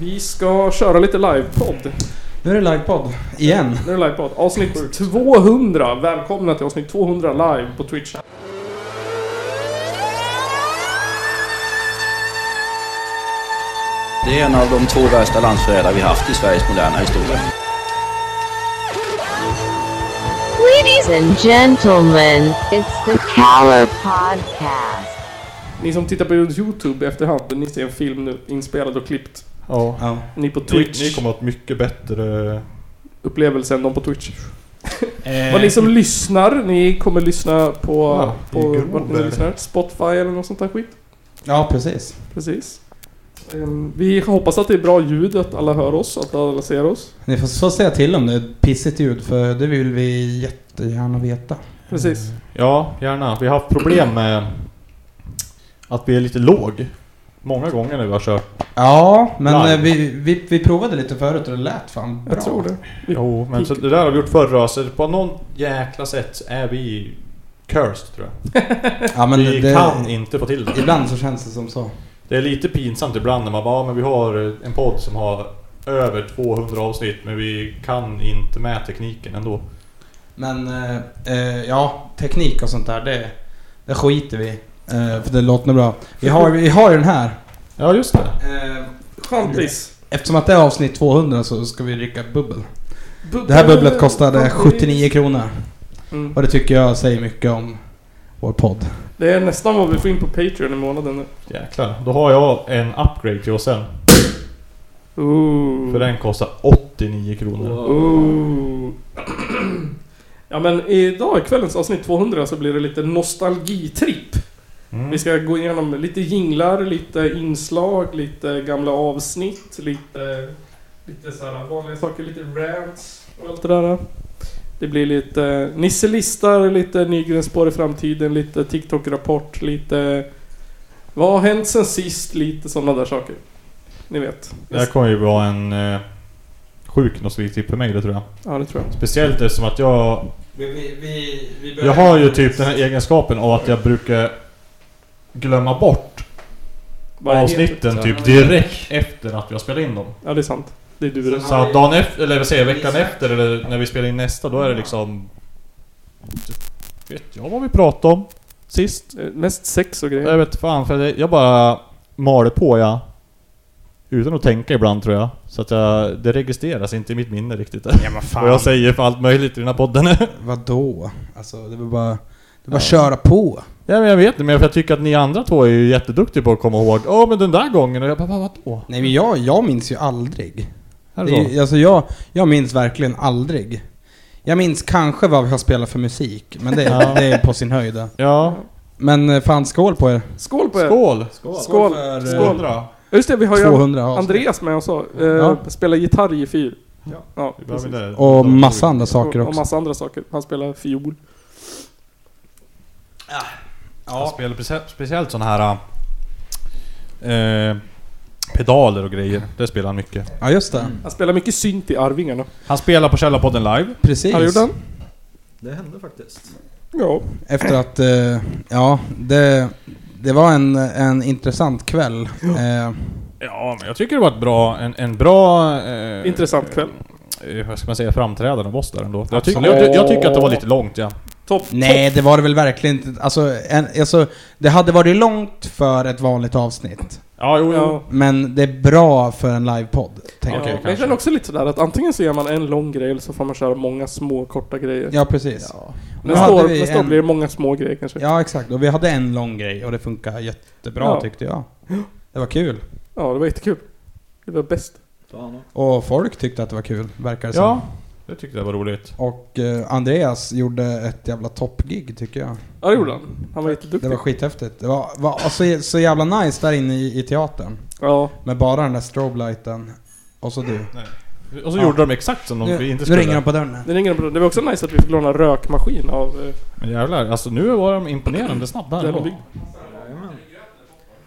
Vi ska köra lite livepodd. Nu är det livepodd. Igen. Nu är det livepodd. Avsnitt 200. Välkomna till avsnitt 200 live på Twitch. Det är en av de två värsta landsförrädare vi haft i Sveriges moderna historia. Ladies and gentlemen, it's the Power Podcast. Ni som tittar på YouTube i efterhand, ni ser en film nu inspelad och klippt. Ja. Ja. Ni på Ni, Twitch, ni kommer att ha ett mycket bättre... upplevelse än de på Twitch. Eh, Och ni som lyssnar, ni kommer lyssna på... Ja, i på grov vart ni värld. lyssnar. Spotify eller något sånt där skit. ja, precis. Precis. Ehm, Vi hoppas att det är bra ljud, att alla hör oss, att alla ser oss. Ni får så säga till om det är ett pissigt ljud för det vill vi jättegärna veta. Precis. Mm, Ja, gärna. Vi har haft problem med att vi är lite låg. Många gånger när vi har kört. Ja, men Live. eh, vi, vi, vi provade lite förut och det lät fan bra. Jag tror det. Jo, men så det där har vi gjort förra så på någon jäkla sätt är vi cursed tror jag. Ja, men vi det, kan inte få till det. Ibland så känns det som så. Det är lite pinsamt ibland när man bara, ja, men vi har en podd som har över 200 avsnitt men vi kan inte med tekniken ändå. Men eh, eh, ja, teknik och sånt där, det, det skiter vi i. eh, För det låter nog bra. Vi har, vi har ju den här. Ja, just det. Eh, Champis. Eftersom att det är avsnitt 200 så ska vi dricka bubbel. Det här bubblet kostade 79 kronor. Mm. Och det tycker jag säger mycket om vår podd. Det är nästan vad vi får in på Patreon i månaden nu. Jäklar. Då har jag en upgrade till oss sen. Ooh. För den kostar 89 kronor. Ooh. Ja men idag i kvällens avsnitt 200 så blir det lite nostalgitripp. Vi Mm. ska gå igenom lite jinglar, lite inslag, lite gamla avsnitt, lite, lite så här vanliga saker, lite rants och allt det där. Det blir lite Nisse listar, lite Nygrens spår i framtiden, lite TikTok-rapport, lite Vad har hänt sen sist? Lite sådana där saker. Ni vet. Det här kommer ju vara en eh, sjuk nostalgitripp för mig, det tror jag. Ja, det tror jag. Speciellt eftersom att jag... Vi, vi, vi Jag har ju typ den här egenskapen av att jag brukar glömma bort Vad heter avsnitten det? typ direkt efter att vi har spelat in dem. Ja, det är sant. Det är du det. Så att dagen efter, eller vad säger jag, veckan efter eller när vi spelar in nästa, då är det liksom... Vet jag vad vi pratade om sist? Eh, Mest sex och grejer. Jag vet fan, för det- jag bara maler på ja. Utan att tänka ibland tror jag. Så att jag, det registreras inte i mitt minne riktigt. Ja, men fan. Vad jag säger för allt möjligt i den här podden. ja, Vadå? Alltså det var bara... Det var köra på. men jag vet inte, men för jag tycker att ni andra två är ju jätteduktiga på att komma ihåg. Ja men den där gången, och jag bara, "Vad- vadå? Nej men jag, jag minns ju aldrig. Här Det då? är, ju- alltså jag, jag minns verkligen aldrig. Jag minns kanske vad vi har spelat för musik, men det, Ja. det är på sin höjd. Ja, Men eh, fan skål på er. Skål på er! skål! Skål. för, eh, Skål. Ja, Just det, vi har ju 200 avsnitt. Andreas med oss också. Eh, Ja. Spelar gitarr i fyr. Ja. ja Vi behöver precis. det. Och massa andra saker och, och också. massa andra saker. Han spelar fiol. Jag spelar prece- speciellt sådana här... Eh, pedaler och grejer. Det spelar han mycket. Ja just det. Han spelar mycket synt i Arvingarna. Han spelar på Källarpodden live. Precis. Har du gjort den? Det hände faktiskt. Ja. Efter att, eh, ja, det, det var en, en intressant kväll. Eh, Ja, men jag tycker det var ett bra, en, en bra... Eh, Intressant kväll. Eh, vad ska man säga? Framträdande av oss där ändå. Jag, tyck, Absolut. jag, ty- jag tycker att det var lite långt ja. Topp. nej, det var det väl verkligen inte. Alltså, en, alltså, det hade varit långt för ett vanligt avsnitt. Ja, jo, topp. jo. Ja. Men det är bra för en livepodd, tänker ja, Okej, jag. men jag kanske. känner också lite sådär att antingen så gör man en lång grej eller så får man köra många små korta grejer. Ja, precis. Nu Nästa, hade år, vi nästa år en- blir det många små grejer kanske. Ja, exakt. Och vi hade en lång grej och det funkar jättebra Ja. tyckte jag. Det var kul. Ja, det var jättekul. Det var bäst. Fan. Och folk tyckte att det var kul, verkar det ja. som. Jag tyckte det var roligt. Och eh, Andreas gjorde ett jävla toppgig tycker jag. Ja, det gjorde han. Han var Det jätteduktig. var skithäftigt. Det var, var så, så jävla nice där inne i, i teatern. Ja. Med bara den där strobelighten. Och så du. Och så Ja. gjorde de exakt som de Nu, inte nu skulle. ringer de på dörren. Det, ringer en bra- det var också nice att vi fick låna en rökmaskin av eh, Men jävlar, alltså nu var de imponerande snabba den ändå. bygg.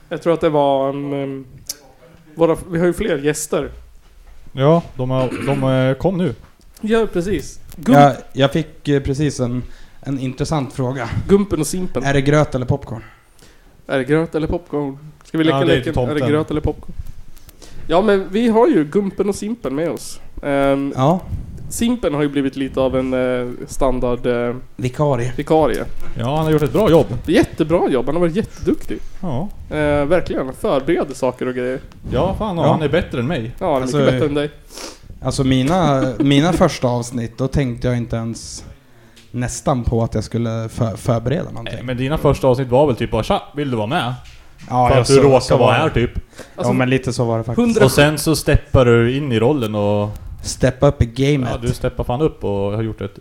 Jag tror att det var en... ehm, våra, vi har ju fler gäster. Ja, de, har, de eh, kom nu. Ja, precis. Gump, Jag, jag fick eh, precis en, en intressant fråga. Gumpen och Simpen. Är det gröt eller popcorn? Är det gröt eller popcorn? Ska vi leka Ja, det är leken? tomten. Är det gröt eller popcorn? Ja men vi har ju Gumpen och Simpen med oss. Ehm, Ja, Simpen har ju blivit lite av en eh, standard eh, vikarie. vikarie. Ja, han har gjort ett bra jobb. Jättebra jobb, han har varit jätteduktig. Ja. Eh, verkligen, förbereder saker och grejer. Ja, fan Ja. han är bättre än mig. Ja, han är Alltså, mycket bättre än dig. Alltså mina, mina första avsnitt, då tänkte jag inte ens nästan på att jag skulle för, förbereda Nej, någonting. men dina första avsnitt var väl typ bara tja, vill du vara med? ja, För jag att du så- råkar så vara var här det. typ. Alltså, ja men lite så var det faktiskt. 100 Och sen så steppar du in i rollen och... Step up i gamet. Ja, du steppar fan upp och har gjort ett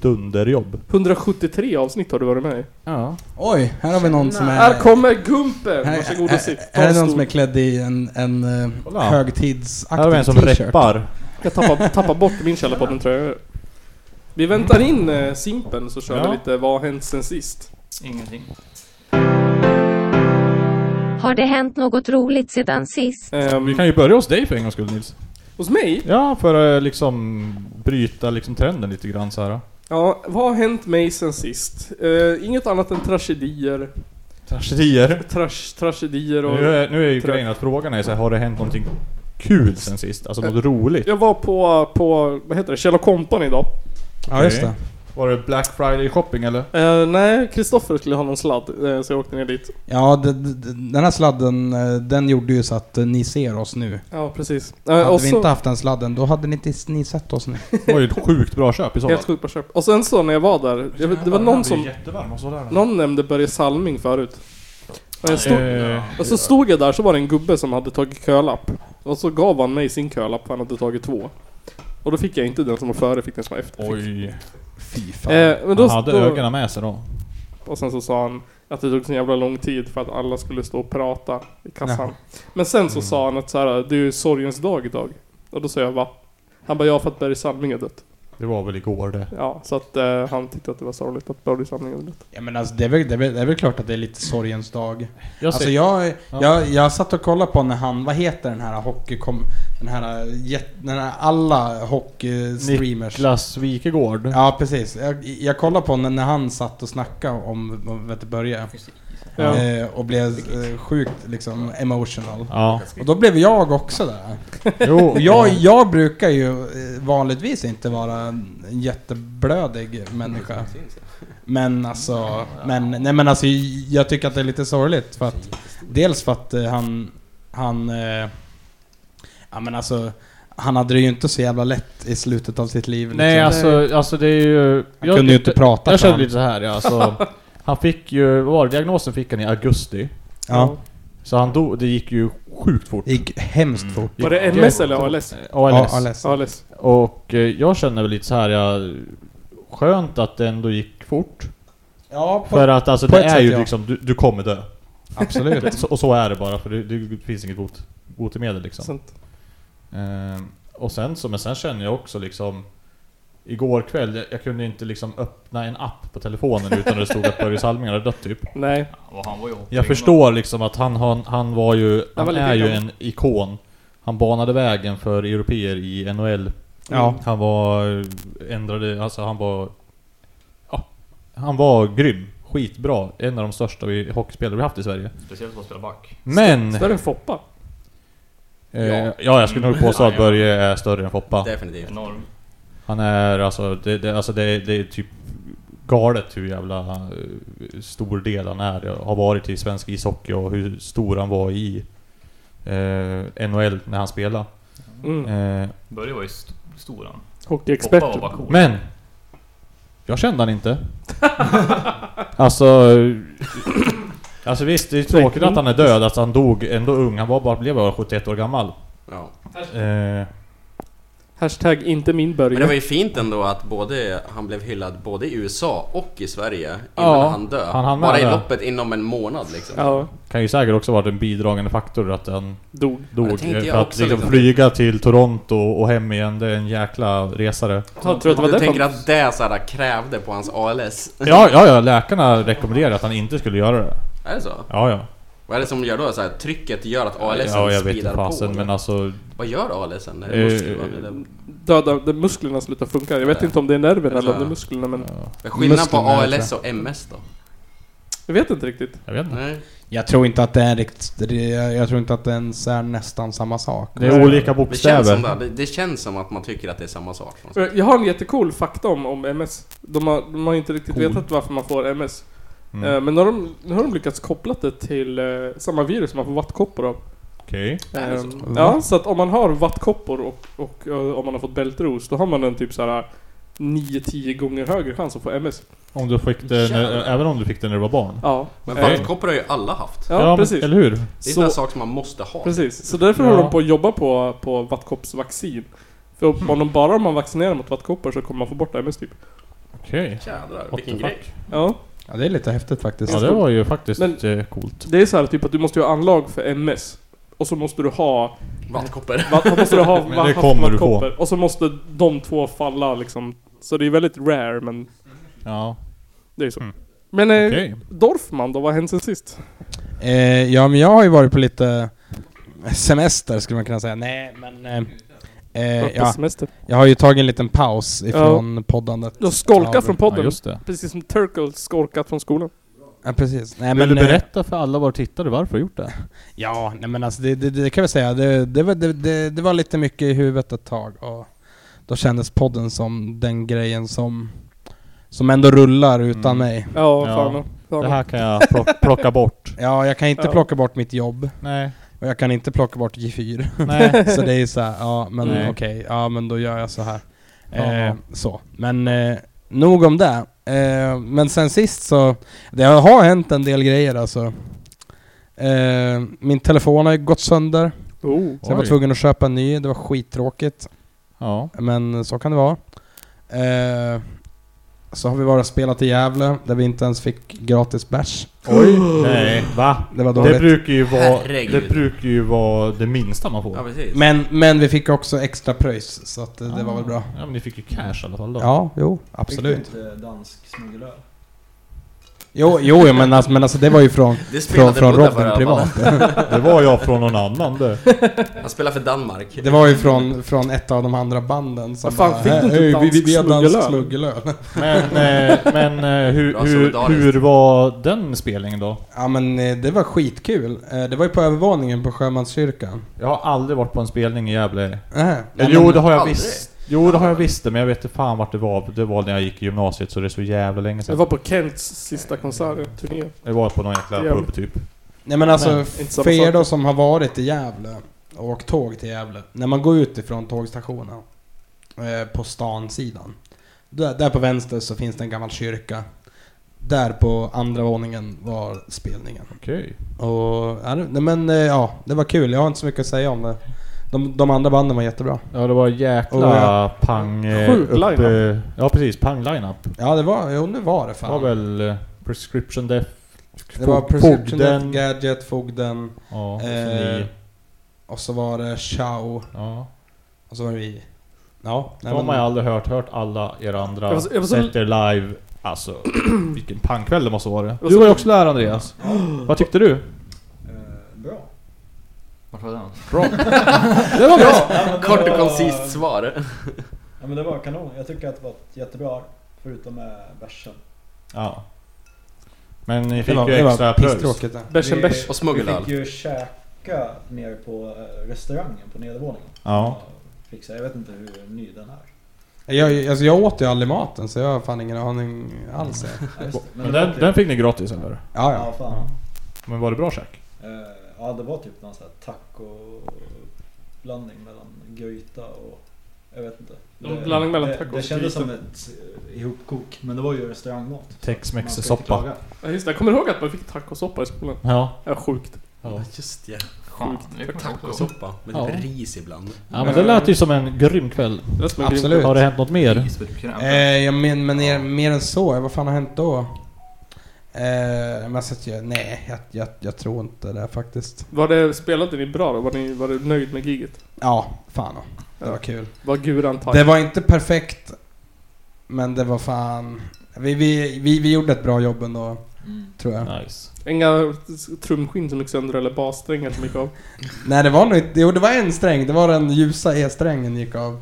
dunderjobb. 173 avsnitt har du varit med i. Ja. Oj, här har vi någon som är... Här kommer Gumpen! Här, Varsågod och sitt. Ta Eh, är en det någon som stol. är klädd i en, en eh, Kolla. högtidsaktig Här har vi en som t-shirt? reppar. Jag tappar, tappar bort min källarpodden tror jag. Vi väntar in eh, Simpen så kör Ja. vi lite Vad har hänt sen sist? Ingenting. Har det hänt något roligt sedan sist? Ehm, Vi kan ju börja hos dig för en gångs skull Nils. Hos mig? Ja, för att liksom bryta liksom trenden lite grann så här. Ja, vad har hänt mig sen sist? Eh, inget annat än tragedier. Tragedier. Trash, tragedier Nu och... är, nu är ju Trö- grejen att frågan är så här, har det hänt någonting kul sen sist? Alltså något roligt? Jag var på, på vad heter det, Kjell Company idag. Ja, just det. Var det Black Friday shopping eller? Eh, nej, Kristoffer skulle ha någon sladd, eh, så jag åkte ner dit. Ja, d- d- d- den här sladden, eh, den gjorde ju så att eh, ni ser oss nu. Ja, precis. Eh, Hade och vi så- inte haft den sladden, då hade ni inte ni sett oss nu. Det var ju ett sjukt bra köp i så fall. Helt sjukt på köp. Och sen så när jag var där, jag, vet- det var någon som... jättevarm och Någon nämnde Börje Salming förut. Och, jag stod, Eh, och så stod jag där så var det en gubbe som hade tagit kölapp. Och så gav han mig sin kölapp för han hade tagit två. Och då fick jag inte den som var före, fick den som var efter. oj. Fy fan. Eh, men då, Han hade då, ögonen med sig då. Och sen så sa han att det tog så jävla lång tid för att alla skulle stå och prata i kassan. Jaha. Men sen Mm. så sa han att så här, det är ju sorgens dag idag. Och då sa jag va? Han bara ja för att Börje Salming är dött. Det var väl igår det. Ja, så att eh, han tyckte att det var sorgligt att Börje Salming är dött. Ja, men alltså, det, är väl, det, är väl, det är väl klart att det är lite sorgens dag. Jag alltså ser- jag, Ja. jag, jag satt och kollade på när han, vad heter den här hockeykom... Den här, jätt- den här alla hockeystreamers. Niklas Wikegård. Ja, precis. Jag, jag kollade på när, när han satt och snackade om, om vet du, Börje. Ja. Eh, och blev eh, sjukt liksom emotional. Ja. Och då blev jag också där. Jo. Och jag, jag brukar ju eh, vanligtvis inte vara en jätteblödig människa. Men alltså, men, nej men alltså jag tycker att det är lite sorgligt för att Dels för att eh, han, han, eh, ja men alltså han hade det ju inte så jävla lätt i slutet av sitt liv. Nej liksom. alltså, alltså det är ju... han kunde ju inte prata. Jag för kände han- lite så här ja, alltså. Han fick ju, vad var det, diagnosen fick han i augusti. Ja, Så han dog, det gick ju sjukt fort. det gick hemskt fort. Var det MS eller ALS? ALS. Ja, ALS. ALS. Och eh, jag känner väl lite så här, ja, skönt att det ändå gick fort. Ja, på, För att alltså på det ett är sätt, ju ja. liksom, du, du kommer dö. absolut. Så, och så är det bara, för det, det finns inget bot, botemedel liksom. Sånt. Ehm, och sen så, men sen känner jag också liksom Igår kväll, jag, jag kunde inte liksom öppna en app på telefonen utan det stod att Börje Salming hade dött typ. Nej. Och han var ju Jag förstår liksom att han, han, han var ju, var han lite är ju gammal. en ikon. Han banade vägen för europeer i NHL. Ja. Han var, ändrade, alltså han var... Ja, han var grym. Skitbra. En av de största vi, hockeyspelare vi haft i Sverige. Speciellt på att spela back. Men! Större än Foppa. Eh, ja, jag skulle nog påstå att Börje är större än Foppa. Definitivt. Enorm. Han är alltså, det, det, alltså det, det är typ galet hur jävla eh, stor del han är. Har varit i svensk ishockey och hur stor han var i eh, NHL när han spelade. Mm. Eh, Börje var ju st- stor han. Hockeyexpert. Hoppa var bara cool. men! Jag kände han inte. alltså... eh, Alltså visst, det är tråkigt att han är död, att han dog ändå ung. Han var bara, blev bara 71 år gammal. Ja. Eh, Hashtag inte min Börje. Men det var ju fint ändå att både, han blev hyllad både i USA och i Sverige innan Ja, han dö. han hann med Bara i det. loppet inom en månad liksom. Ja, kan ju säkert också varit en bidragande faktor att han dog. dog. det tänkte jag för att också liksom liksom. flyga till Toronto och hem igen, det är en jäkla resare. Alltså, Han tror att det var Om du därför tänker han... att det så här krävde på hans ALS. Ja, ja, ja, läkarna rekommenderade att han inte skulle göra det. Är det så? Ja, ja. Vad är det som gör då? Så här, trycket gör att ALS Ja, jag vet inte speedar på? fasen, men alltså... Vad gör ALS? Är Eh, det muskler, va? Eller- Döda, de musklerna slutar funka. Jag vet inte om det är nerven eller om det är musklerna men... Skillnaden på musklerna, jag ALS och MS då? Jag vet inte riktigt. Jag vet inte. Nej. Jag tror inte att det är riktigt... det- Jag tror inte att det ens är nästan samma sak. Det är olika Det känns, som bokstäver. det, det känns som att man tycker att det är samma sak. Jag har en jättecool fakta om, om MS. De har, de har inte riktigt Cool. vetat varför man får MS. Mm. Eh, Men nu har, de, nu har de lyckats koppla det till eh, samma virus som man får vattkoppor av. Okej. Är det så? Ehm, ja, så att om man har vattkoppor och, och, eh, om man har fått bältros, då har man en typ så här 9-10 gånger högre chans att få MS. Om du fick det, Jävlar. när, även om du fick det när du var barn? Ja, Men Eh, vattkoppor har ju alla haft. ja, men- precis. Eller hur? Det är en sån Så, här sak som man måste ha. precis. Så därför håller Ja. de på att jobba på, på vattkoppsvaccin. För om om de bara om man vaccinerar mot vattkoppor så kommer man få bort MS typ. Okej. Jädrar, What vilken the fuck? grej. Ja, Ja, det är lite häftigt faktiskt. Ja, det var ju faktiskt Men- eh, coolt. det är så här typ att du måste ju ha anlag för MS. Och så måste du ha... Vattkoppor. Vad vad måste du ha? Men vad- det haft kommer du få. vattkoppor? Och så måste de två falla liksom. Så det är väldigt rare men Ja, det är så. Mm. Men eh, okej. Dorfman då, vad har hänt sen sist? Eh, ja, men jag har ju varit på lite eh, semester skulle man kunna säga. Nej, men... Eh, eh, Varit på ja, semester. jag har ju tagit en liten paus ifrån poddandet. Du har skolkat Ja, från Ja, podden. just det. Precis som Turkle skolkat från skolan. Ja, precis. Nej, Vill du eh, berätta för alla var du tittade varför du gjort det? Ja, nej men alltså det, det, det kan vi säga. Det, det, var- det, det, det var lite mycket i huvudet ett tag och då kändes podden som den grejen som, som ändå rullar utan Mm. mig. Ja, Ja. fan. fan. Det här kan jag plock- plocka bort. Ja, jag kan inte Ja. plocka bort mitt jobb Nej, och jag kan inte plocka bort G4. nej. så det är ju så här, ja men Nej. okej, ja men då gör jag så här. Eh, Ja. så, men eh, nog om det. Eh, men sen sist så, det har hänt en del grejer alltså. Eh, min telefon har ju gått sönder. Oh. Så jag var Oj. tvungen att köpa en ny, det var skittråkigt. Ja. Men så kan det vara. Eh, så har vi varit och spelat i Gävle, där vi inte ens fick gratis bärs. Oj. Nej, va? Det var Det dåligt. brukar ju vara Herregud. det, brukar ju vara det minsta man Ja, får. precis. men, men vi fick också extra pröjs, så att, eh, det var väl bra. Ja, men ni fick ju cash i alla fall då. Ja, jo, Fick du absolut. inte dansk smuggelöl? Jo, jo men, alltså, men alltså det var ju från, Det från, spelade från Buddha för Robin övrigt. privat. Det var jag från någon annan det. Han spelar för Danmark. Det var ju från, från ett av de andra banden som Vad fan, fick du inte "Hej, vi, vi, vi har dansk dansk smuggelöl?" smuggelöl. Men, eh, men eh, hur, Bra hur, solidariskt. hur var den spelningen då? Ja men eh, det var skitkul. Eh, Det var ju på övervåningen på Sjömanskyrkan. Jag har aldrig varit på en spelning i Gävle. Äh, Eller, jo, det har jag aldrig. visst. Jo, det har jag visst det, men jag vet inte fan vart det var. Det var när jag gick i gymnasiet, så det är så jävla länge Jag sedan. var på Kents sista konsert, turné. Det var på någon jäkla Jävligt. pub typ. Nej men alltså, Men, inte samma för er sak. då som har varit i Gävle och åkt tåg till Gävle. När man går ut ifrån tågstationen eh, på stansidan. Där, där på vänster så finns det en gammal kyrka. Där på andra våningen var spelningen. Okej. Och, ja, det- nej men eh, ja, det var kul. Jag har inte så mycket att säga om det. De, de andra banden var jättebra. Ja, det var en jäkla Och, pang... eh, Sjuk upp, line-up. eh, Ja, precis. Pang-line-up. Ja det var, jo nu var det Det var fan. väl eh, Prescription Death... Det var Fog- Prescription Death Fogden. Gadget, Fogden Ja, och så Eh, ni. och så var det Chao Ja. och så var det vi. Ja, nej, De har men- jag aldrig hört. Hört alla era andra Jag var så- jag var så- sätter live. Alltså, vilken pangkväll det måste ha varit. var Du så- var ju också där Andreas. Vad tyckte du? Eh, bra. Vart var den? Det var bra! Kort och koncist svar. Ja men det var kanon. Jag tycker att det var ett jättebra förutom med bärsen. Ja. Men ni Det fick var, ju det extra var pröjs. pisstråkigt. det. Bärsen Vi- bärs. Och Vi smuggelöl. fick ju käka nere på eh, restaurangen på nedervåningen. Ja. Fixa. Jag vet inte hur ny den är. Jag, alltså jag åt ju aldrig maten så jag har fan ingen aning alls. Ja, Ja, just det. Men det var den, typ- den fick ni gratis eller? ja. Ja, fan. Men var det bra käk? Eh, Ja, det var typ någon sån här taco-blandning mellan gryta och... Jag vet inte. Någon blandning mellan det, taco och Det kändes gryta. som ett eh, ihopkok, men det var ju restaurangmat. så man ska inte Tex-mex-soppa. klaga. Ja, just det. Jag kommer ihåg att man fick tacosoppa i skolan. Ja. Ja, sjukt. ja. Just ja. Fan, det kommer jag också. Tacosoppa med Ja. typ ris ibland. Ja men det lät ju som en grym kväll. Det var som en grym- Absolut. Har det hänt något mer? Isbergskräm. Eh, ja, men, men mer, mer än så, vad fan har hänt då? Eh, men så att jag, nej, jag, jag, jag tror inte det faktiskt. Var det, spelade ni bra då? Var, ni, var du nöjd med giget? Ja, fan då. Det Ja. var kul. Var guran tajt? Det var inte perfekt, men det var fan... Vi, vi, vi, vi gjorde ett bra jobb ändå, Mm. tror jag. Nice. Inga trumskinn som gick sönder eller bassträngar som gick av? Nej, det var nog inte... Jo, det var en sträng. Det var den ljusa E-strängen gick av.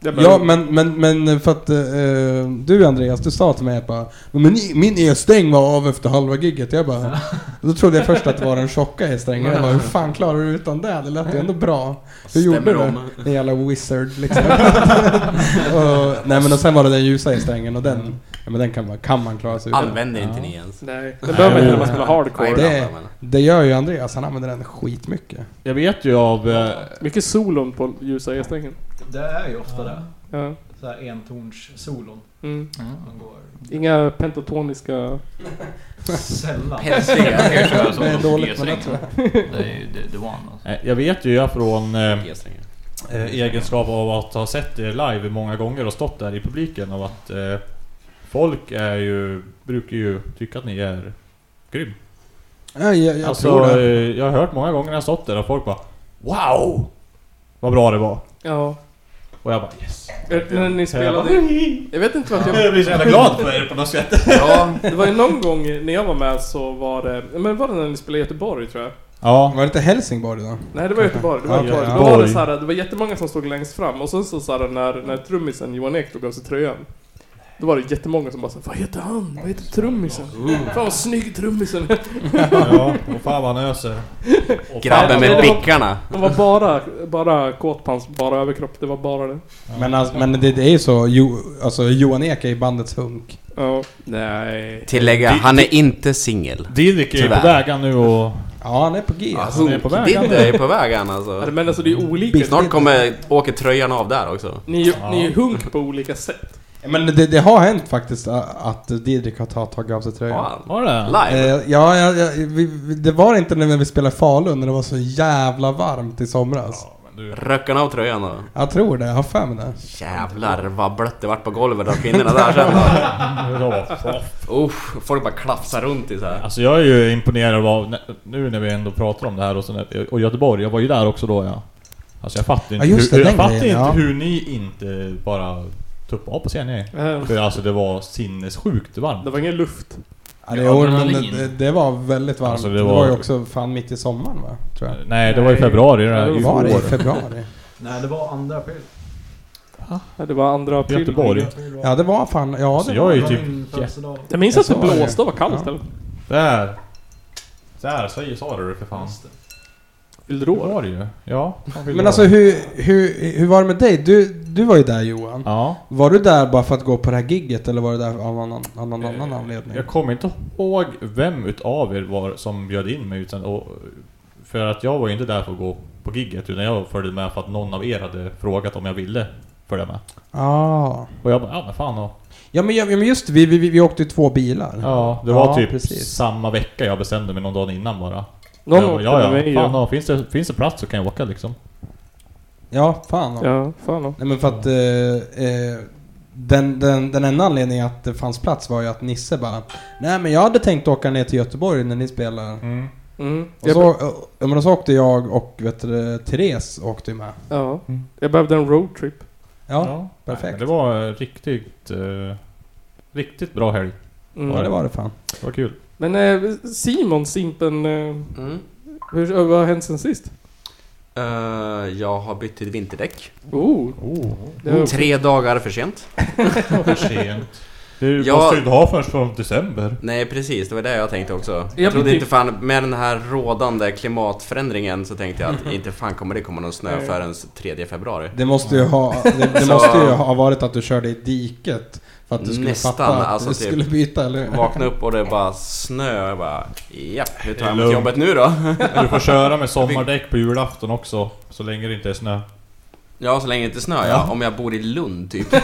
Jag bara- Ja, men, men, men för att eh, du Andreas, du sa till mig att bara men i- min e-sträng var av efter halva gigget. Jag bara, då trodde jag först att det var den tjocka e-strängen. Jag bara, hur fan klarar du utan det? Det lät ju ändå bra. Hur gjorde Stämmer du? om. En jävla wizard liksom. och, nej men och sen var det den ljusa e-strängen och den, ja, men den kan man, kan man klara sig utan. Använder inte ni ens? Nej, den behöver inte när man spelar hardcore. Nej, det- det använder man. Det gör ju Andreas, han använder den skitmycket. Jag vet ju av... Eh, Mycket solon på ljusa E-strängen. Det är ju ofta det. Ja. Så här entorns-solon. Mm. Man går Inga pentatoniska... sällan. Helsike. Jag kan köra som Det är dåligt, G-strängen. Det är ju det, det var han alltså. eh, jag vet ju jag från eh, G-strängen. eh, egenskap av att ha sett er live många gånger och stått där i publiken och att eh, folk är ju, brukar ju tycka att ni är grym. Ja, jag, jag alltså, tror det. eh, jag har hört många gånger när jag stått där och folk bara Wow! Vad bra det var! Ja. Och jag bara yes! Vet ni När ni spelade... Jag vet inte varför jag... Jag blir så jävla glad för er på något sätt! Ja, det var ju någon gång när jag var med så var det... Men var det när ni spelade i Göteborg tror jag? Ja, Var det inte Helsingborg då? Nej, det var Göteborg. Det var Ja, Göteborg. okej, Då ja. var det, så här, det var jättemånga som stod längst fram och sen så, så här, när, när trummisen Johan Ek tog av sig tröjan. Då var det jättemånga som bara så här, Vad heter han? Vad heter trummisen? Fan vad snygg trummisen är." ja, och fan vad han öser! Och Grabben fan- Nej, med det var- bickarna. De var bara, bara kåtpans, bara överkropp. Det var bara det. Men, alltså, men det, det är ju så, jo, alltså, Johan Ek är ju bandets hunk. Ja. Nej. Tillägga, han är inte singel. Didrik är ju på Tyvärr. vägen nu och... Ja, han är på G. Ja, alltså. han är på väg, Hunk-Didde han är. är på väg han Ja, alltså. Men alltså det är ju olika. Snart kommer, åker tröjan av där också. Ni, är ju- ni är ju hunk på olika sätt. Men det, det har hänt faktiskt ä, att Didrik har ta- tagit av sig tröjan. Fan. Var det? Eh, Live. ja, ja, ja vi, vi, det var inte när vi spelade Falun när det var så jävla varmt i somras. Röck han av tröjan då? Jag tror det, jag har för mig det. Jävlar vad blött det vart på golvet av kvinnorna där sen då. Ja. Usch, folk bara klafsar runt i så här. Alltså jag är ju imponerad av, nu när vi ändå pratar om det här och, så, och Göteborg, jag var ju där också då ja. Alltså jag fattar inte, Ja, just det, hur, jag den fattar grejen, inte ja. hur ni inte bara tuppade av på scenen. Eh, För alltså det var sinnessjukt varmt. Det var ingen luft. Ja, det, Ja, år, men adrenalin. det, det var väldigt varmt. Alltså, det det, var... var- ju också fan mitt i sommaren va? Tror jag. Nej det var i Nej. februari det här, i var det i år. februari? Nej, det var andra april. Ja, Det var andra april. Göteborg. April var- Ja, det var fan... Ja, Så det jag var är ju var typ min födelsedag. Jag minns Jag att det sa det. blåste och var kallt Ja. eller? Där! Där, säger sa du det för fan. Fyllde Det du år? var det ju. Ja. Men alltså hur, hur, hur var det med dig? Du, du var ju där Johan. Ja. Var du där bara för att gå på det här gigget eller var du där av annan, annan, annan anledning? Eh, Jag kommer inte ihåg vem utav er var som bjöd in mig utan, och, För att jag var ju inte där för att gå på gigget utan jag följde med för att någon av er hade frågat om jag ville följa med. Ah. Och jag bara, ja men fan och, Ja men, ja, men just det, vi, vi, vi, vi åkte ju två bilar. Ja, det var Ja, typ precis. samma vecka jag bestämde mig någon dag innan bara. Någon jag bara, åkte med ja, mig ja, ju. fan ja. Finns, det, finns det plats så kan jag åka liksom. Ja, fan. ja. Ja, fan då. Nej men för att eh, eh, den, den, den enda anledningen att det fanns plats var ju att Nisse bara Nej men jag hade tänkt åka ner till Göteborg när ni spelar. Mm. Och så, ja, men så åkte jag och vet du, Therese åkte ju med. Ja. Mm. Jag behövde en roadtrip. Ja, nej, perfekt. men det var eh, riktigt, eh, riktigt bra helg. Mm. ja det var det fan. Det var kul. Men eh, Simon, Simpen, eh, Mm. hur, eh, vad har hänt sen sist? Eh, jag har bytt till vinterdäck. Oh, Oh, det var, Tre dagar för sent. för sent. Du Ja. måste ju inte ha förrän från december. Nej precis, det var det jag tänkte också. men Jag trodde typ- inte fan, med den här rådande klimatförändringen så tänkte jag att inte fan kommer det komma någon snö Nej. förrän 3 februari. Det måste ju ha, det, det Så- måste ju ha varit att du körde i diket. För att du skulle Nästan, fatta att alltså du typ. skulle byta eller hur? Vakna upp och det är bara snö. Jag bara, japp, hur tar jag mig Lugn. till jobbet nu då? Du får köra med sommardäck på julafton också, så länge det inte är snö. Ja, så länge det inte snöar ja. Om jag bor i Lund typ. Ja,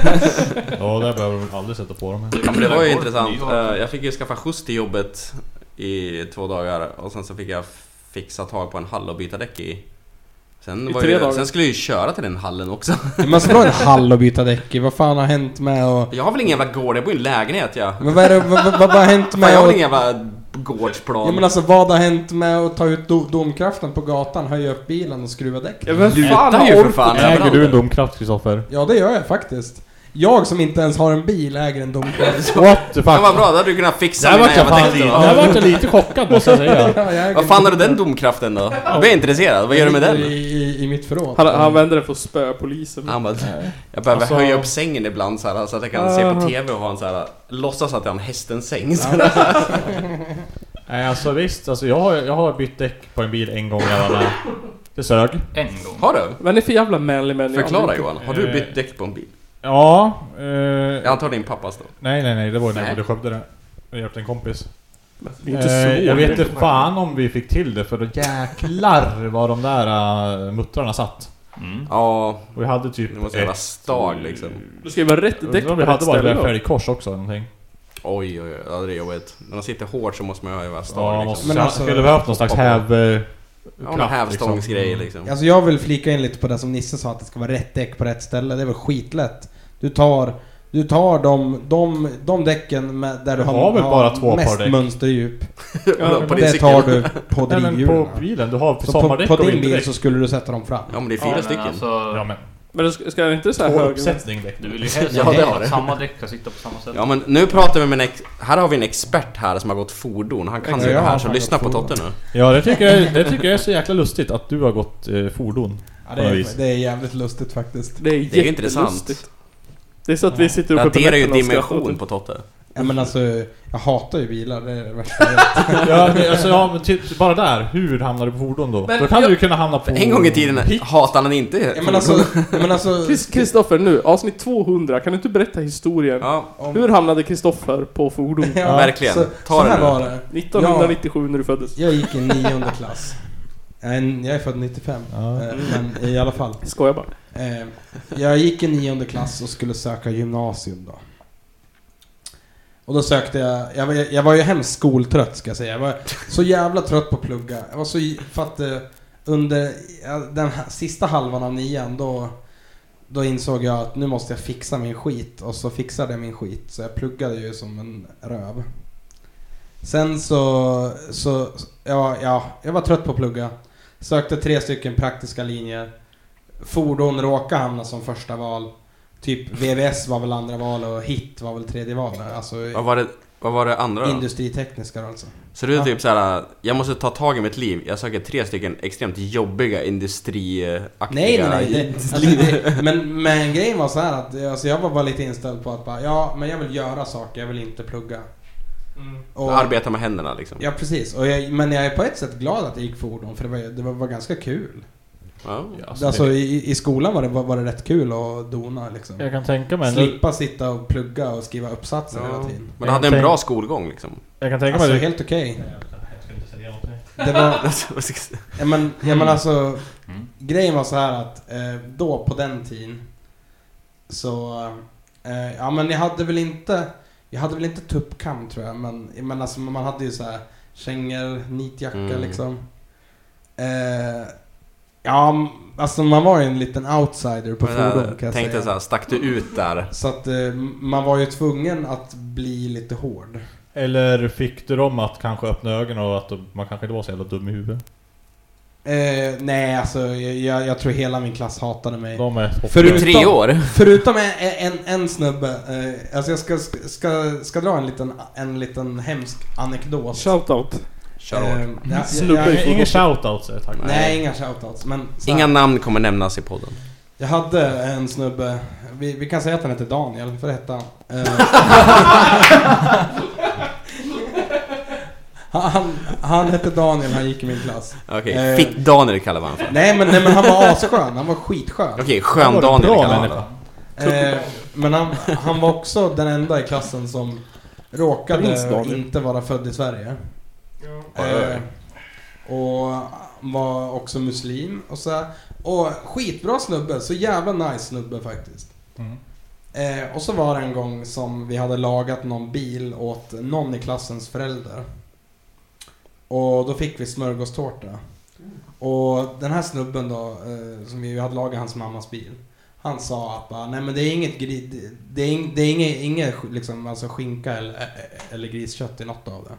där behöver man aldrig sätta på dem. Ja, men det var ju intressant. Eh, Jag fick ju skaffa skjuts till jobbet i två dagar och sen så fick jag fixa tag på en hall och byta däck i. Sen, I var tre dagar? ju, sen skulle jag ju köra till den hallen också. Man ska ha en hall och byta däck i, vad fan har hänt med och... Jag har väl ingen jävla gård, jag bor i en lägenhet jag. Men vad, är det, vad, vad, vad har hänt Fan, med jag har väl att... ingen jävla Ja gårdsplan. men alltså vad har hänt med att ta ut do, domkraften på gatan, höja upp bilen och skruva däck? ja, vem fan Lutar har ju för ork? fan Äger du en överallt. domkraft Kristoffer? Ja det gör jag faktiskt. Jag som inte ens har en bil äger en domkväll. What the fuck? Ja, vad bra, då hade du kunnat fixa Där mina vart jag jävla fan texter. lite, va? där vart jag lite chockad måste jag säga. Ja, jag äger Vad fan har du den domkraften då? Då blir jag intresserad, vad gör du med I, den? i, i mitt förråd. Han, han vänder det för att spöa polisen. Han bara, jag behöver Alltså- höja upp sängen ibland så, här, så att jag kan se på Ah. TV och ha en så här, låtsas att jag har en hästens säng. Så Ah. här. Nej alltså visst, alltså, jag, har, jag har bytt däck på en bil en gång jävlarna. Det sög. En gång. Har du? Vad är det för jävla manly människa? Förklara Johan, har du Eh. bytt däck på en bil? Ja, eh, Jag antar din pappas då? Nej nej nej, det var ju när jag Nej. bodde i Skövde det. Jag hjälpte en kompis. Det är inte så. Eh, jag vet inte fan om vi fick till det för då jäklar vad de där äh, muttrarna satt. Mm. Ja, Och vi hade typ... det måste vara ett- stag liksom. Du ska ju vara rätt Jag däck tror på vi rätt hade bara ställe ett då. fälgkors också eller någonting. Oj oj oj, ja, det är jobbigt. När de sitter hårt så måste man ju ha vara Ja, stag måste, liksom. Men men alltså- skulle behövt någon slags häv... eh, Ja, någon kraft, hävstångsgrej liksom. Alltså jag vill flika in lite på det som Nisse sa, att det ska vara rätt däck på rätt ställe. Det är väl skitlätt. Du tar, du tar de, de, de däcken med, där du Jag har väl bara två mest par däck. mönsterdjup. Ja, på din Det cykel. tar du på Nej men drivhjulen. på bilen, du har Så på, sommardäck på och din bil vinterdäck. så skulle du sätta dem fram. Ja men det är Ja, fyra men stycken. Alltså, Ja men, Men ska, ska det inte så här två höger... uppsättning däck. Du vill ju helst Ja, det har att det. samma däck ska sitta på samma ställe. Ja men nu pratar vi med en ex- Här har vi en expert här som har gått fordon. Han kan Ja, ju det jag här har så fan lyssna på gått Totte nu. Ja det tycker, jag, det tycker jag är så jäkla lustigt att du har gått eh, fordon. Ja, det, På något är, vis. det är jävligt lustigt faktiskt. Det är Det är ju intressant. jättelustigt. Det är så att vi sitter Det uppe på adderar ju nätterna och skrattar åt dimension det. på Totte. Ja, men alltså, jag hatar ju bilar. Det är det värsta jag vet. Ja, men, alltså, ja, men typ, bara där, hur hamnar du på fordon då? Men då kan jag- du ju kunna hamna på... En gång i tiden Pick. hatade han inte Oh, Ja, men alltså, ja, men alltså Chris- Kristoffer, nu, avsnitt 200, kan du inte berätta historien? Ja, om- Hur hamnade Kristoffer på fordon? Ja, verkligen. Så, Ta så det här nu. var det. 1997 när du föddes. Jag gick i nionde klass. Jag är, en- jag är född 95. Ja. eh, Men i alla fall. Skojar bara. Eh, Jag gick i nionde klass och skulle söka gymnasium då. Och då sökte jag, jag var, jag var ju hemskt skoltrött ska jag säga. Jag var så jävla trött på att plugga. Jag var så, j- för att eh, under ja, den här sista halvan av nian då, då insåg jag att nu måste jag fixa min skit. Och så fixade jag min skit. Så jag pluggade ju som en röv. Sen så, så ja, ja, jag var trött på att plugga. Sökte tre stycken praktiska linjer. Fordon råkade hamna som första val. Typ VVS var väl andra val och HIT var väl tredje val. Alltså vad var det, vad var det andra då? industritekniska då alltså. Så du är typ såhär, jag måste ta tag i mitt liv. Jag söker tre stycken extremt jobbiga industriaktiga... Nej, nej, nej. Det, alltså, det, men, men grejen var så här att alltså, jag var bara lite inställd på att bara, ja, men jag vill göra saker, jag vill inte plugga. Mm. Och, Arbeta med händerna liksom. Ja, precis. Och jag, men jag är på ett sätt glad att jag gick fordon, för det var, det var, var ganska kul. Ja. Alltså, alltså, det, i, i skolan var det, var, var det rätt kul att dona liksom. jag kan tänka mig... nu- Slippa sitta och plugga och skriva uppsatser Ja. hela tiden. Men du hade en bra skolgång liksom. Jag kan tänka mig... Alltså, det- helt okej. Jag ska inte säga någonting. Det var... Alltså, vad ska jag säga? Ja men, ja, men alltså, Mm. grejen var så här att eh, då på den tiden så, eh, ja men jag hade väl inte, jag hade väl inte tuppkam tror jag, men, men alltså man hade ju så här kängor, nitjacka Mm. liksom. Eh, ja, m- alltså man var ju en liten outsider på Men jag fordon kan jag Tänkte säga. såhär, stack du ut där? Så att eh, man var ju tvungen att bli lite hård. Eller fick du dem att kanske öppna ögonen och att de- man kanske inte var så jävla dum i huvudet? Eh, nej alltså, jag, jag, jag tror hela min klass hatade mig. De är hopplösa. Förutom- I tre år? Förutom en, en, en snubbe, eh, alltså jag ska, ska, ska dra en liten, en liten hemsk anekdot. Shoutout. Kör Eh, hårt. ja, ja, Snubbe jag- i Ingen- Ingen shoutout säger tack. Nej, inga shoutouts. Men så här, Inga namn kommer nämnas i podden. Jag hade en snubbe, vi, vi kan säga att han hette Daniel, för det hette han. Eh, han, han hette Daniel, han gick i min klass. Okej, Eh. Fitt-Daniel kallar vi honom för. Nej men, nej, men han var asskön, han var skitskön. Okej, Han var en Skön-Daniel bra kallar vi honom människa. Eh, men han, han var också den enda i klassen som Prins råkade Daniel. inte vara född i Sverige. Oj, oj, oj. Eh, och var också muslim och så här. Och skitbra snubbe, så jävla nice snubbe faktiskt. Mm. Eh, och så var det en gång som vi hade lagat någon bil åt någon i klassens föräldrar. Och då fick vi smörgåstårta. Och den här snubben då, eh, som vi hade lagat hans mammas bil. Han sa att bara, nej men det är inget, gri- det- det är ing, det är inget, inget liksom, alltså skinka eller, eh, eller Eh, griskött i något av det.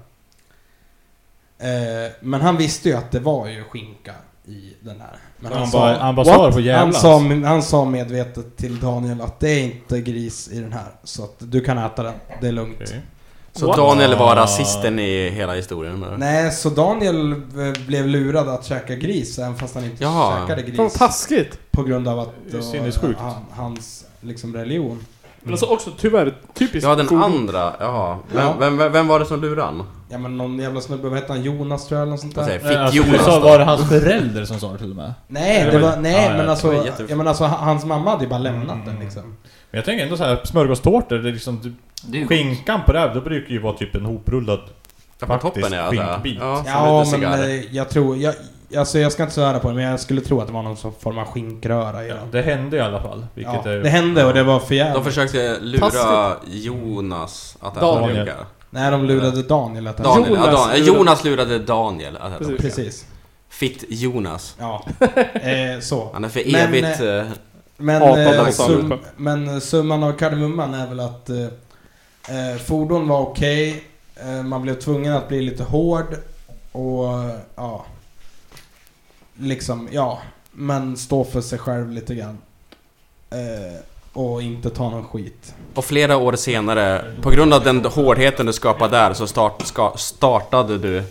Eh, men han visste ju att det var ju skinka i den här. Han bara- han bara sa "What?" det för jävlas. han sa, han sa medvetet till Daniel att det är inte gris i den här. Så att du kan äta den, det är lugnt. Okej. Så What? Daniel var Ah. rasisten i hela historien menar du? Nej, så Daniel eh, blev lurad att käka gris även fast han inte Jaha. käkade Fan gris. taskigt! På grund av att Det är då- sinnessjukt. han, hans liksom religion. Men alltså också tyvärr typiskt... Ja den god- andra, jaha. Ja. Vem, vem, vem, vem var det som lurade han? Ja men någon jävla snubbe, vad hette han? Jonas tror jag eller något sånt Vad där? säger jag? Nej, Fick alltså, du Jonas sa, då? var det hans förälder som sa det till och med? Nej, Det det var- Mm. var, nej ja, ja, men alltså, det var jätte- ja, men alltså ha- hans mamma hade ju bara lämnat den liksom. Men jag tänker ändå så här, smörgåstårtor, det är liksom typ, Det är ju gott. skinkan på det här, det brukar ju vara typ en hoprullad... Ja, på Faktiskt, toppen ja. så här. skinkbit. Ja, som Ja Alltså, lite men cigarr. eh, jag tror, jag, alltså jag ska inte svära på det men jag skulle tro att det var någon som- form av skinkröra i den. Det hände i alla fall. Vilket Ja, är, det hände och det var för De jävligt. försökte lura Taskigt. Jonas att äta Daniel. burkar. Nej de lurade Daniel att Daniel. Jonas, ja, Jonas Daniel. lurade- Jonas lurade Daniel att äta Precis. burkar. Precis. Fitt Jonas. Ja. Eh, så. Han är för Men, evigt... eh, Men, Hatar eh, Daniel. sum, men eh, summan av kardemumman är väl att eh, eh, fordon var okej, eh, man blev tvungen att bli lite hård och eh, ja, liksom ja, men stå för sig själv lite grann. Eh, och inte ta någon skit. Och flera år senare, på grund av den hårdheten du skapade där så start, ska, startade du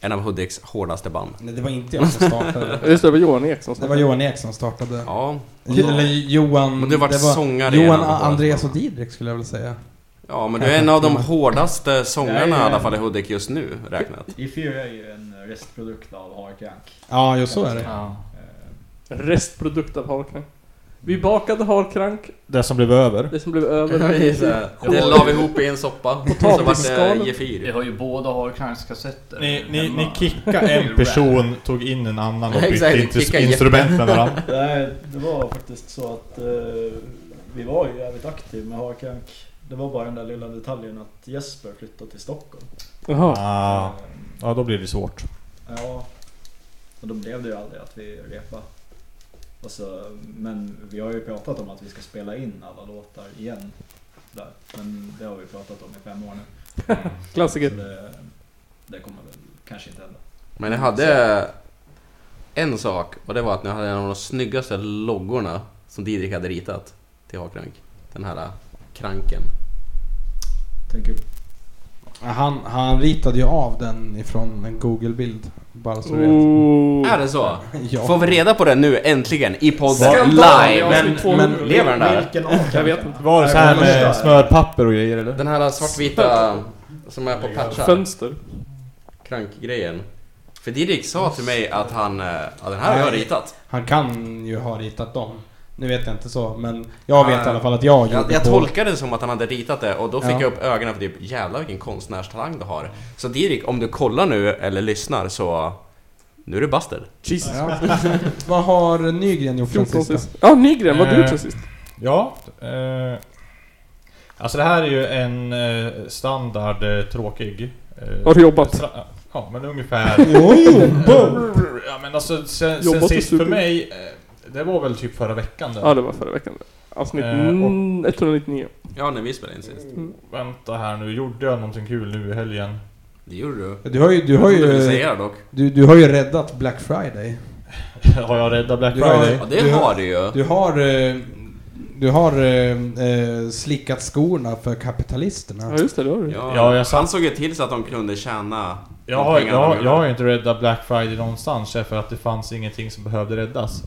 en av Hudiks hårdaste band. Nej, det var inte jag som startade. Just det, det var Johan Ek som sa Det var Johan Ek som startade. Ja, Eller Johan... Men du vart det sångare i en Johan av de båda Andreas och spelarna. Didrik skulle jag vilja säga. ja men du är en av de hårdaste sångarna i alla fall i Hudik just nu räknat. Ethereum är ju en restprodukt av Hark Yank. Ja, just så är det. Ja. Eh, Restprodukt av harkrank. Vi bakade harkrank, det som blev över. det som blev över. Det la vi ihop i en soppa, så vart det Potatisskal. Vi gefyr. har ju båda har kanske sett det. Ni, ni, hemma. ni kickade en person, tog in en annan och bytte Exakt, intrus- kickade instrument med varandra. Nej, det var faktiskt så att eh, vi var ju jävligt aktiva med Hark Yank. Det var bara den där lilla detaljen att Jesper flyttade till Stockholm. Jaha. Ah, Eh, ja, då blir det svårt. Ja. Och då blev det ju aldrig att vi repade. Och så, men vi har ju pratat om att vi ska spela in alla låtar igen. Där. Men det har vi pratat om i fem år nu. Så Klassiker. det, det kommer väl kanske inte hända. Men jag hade en sak, och det var att ni hade en av de snyggaste loggorna som Didrik hade ritat till Hakkrank. Den här kranken. Tänker Han, han ritade ju av den ifrån en Google-bild. Bara så du vet. Oh. Är det så? Ja. Får vi reda på det nu äntligen i podden Skandal! live? Men- men- Lever den där? Vilken av Jag vet inte. Var det så här men- med smörpapper och grejer eller? Den här svartvita som är på patchar, Fönster. krankgrejen. För Didrik sa till mig att han, eh, ja den här har jag Nej. ritat. Han kan ju ha ritat dem. Nu vet jag inte så, men jag vet Nej. i alla fall att jag gjorde Jag, jag båda. tolkade det som att han hade ritat det och då fick Ja. jag upp ögonen för typ jävlar vilken konstnärstalang du har. Så Didrik, om du kollar nu eller lyssnar så nu är du bastard. Jesus. Ja. Vad har Nygren gjort sen 14 sist? då? sist. Ja, Nygren, vad har du gjort sen Eh. sist? Ja. Eh, alltså det här är ju en eh, standard eh, tråkig... Eh, Har du jobbat? stra- Ja, men ungefär. ja men alltså sen, sen Jobbat sist och för super. mig, eh, det var väl typ förra veckan där. Ja, det var förra veckan. Avsnitt Eh, mm, 199. Ja, när vi spelade in sist. Vänta här nu, gjorde jag någonting kul nu i helgen? Det gjorde du. Du har ju, du Jag har trodde du ville ju, säga det dock. du, du har ju räddat Black Friday. har jag räddat Black Du har- Friday? Ja, det Du- har du ju. Du har, eh, du har eh, eh, slickat skorna för kapitalisterna. Ja, just det, det har du. Ja, jag han såg ju till så att de kunde tjäna Jag de har, pengarna jag, de har- gjorde. jag har ju inte räddat Black Friday någonstans för att det fanns ingenting som behövde räddas.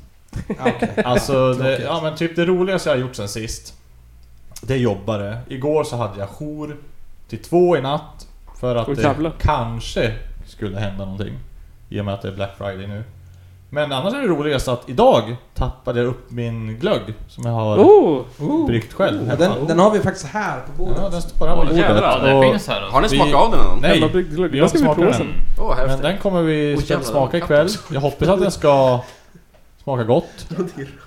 Ja, Ah, okej. Alltså, det, Tråkigt. ja men typ det roligaste jag har gjort sen sist Det är jobbare. Igår så hade jag jour till två i natt för att Åh, det jävlar. kanske skulle hända någonting. I och med att det är Black Friday nu. Men annars är det roligaste att idag tappade jag upp min glögg som jag har Oh! bryggt själv. Ja, hemma. den, den har vi faktiskt här på bordet. ja, den står här på Åh, bordet. jävlar. Ja, det Och- finns här alltså. Har ni Vi- smakat av den än? Nej, Jävla brygd glögg. vi Den har ska inte vi prova smakat den. sen. Åh, oh, Men den kommer vi Åh, jävlar, smaka den ikväll. katten. Jag hoppas att den ska smaka gott.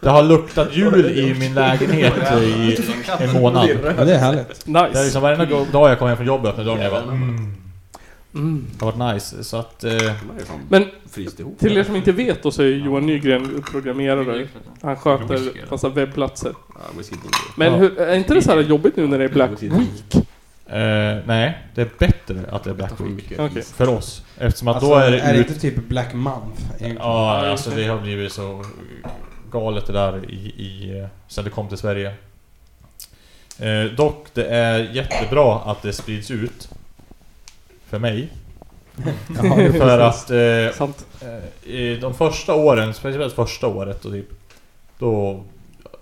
Det har luktat jul i min lägenhet i en månad. Ja, det är härligt. Det är Nice. liksom varenda go- dag jag kommer hem från jobbet öppnar dörren och jag bara mm. Mm. Det har varit nice. Så att... Eh, Men fryst ihop. till er som inte vet då så är Johan Nygren programmerare. Han sköter massa webbplatser. Ja, whisky ginger. Men Ja. hur, är inte det så här jobbigt nu när det är Black Week? Eh, nej, det är bättre att det är Black Utan Week. mycket Okej. is. För oss. Eftersom att Alltså, då är det... det ur- inte typ Black Month? egentligen? Ja, alltså det har blivit så galet det där i, i, eh, sen det kom till Sverige. Eh, dock, det är jättebra att det sprids ut. För mig. Ja, det är För precis. att eh, Sant. eh, i de första åren, speciellt första året och typ Då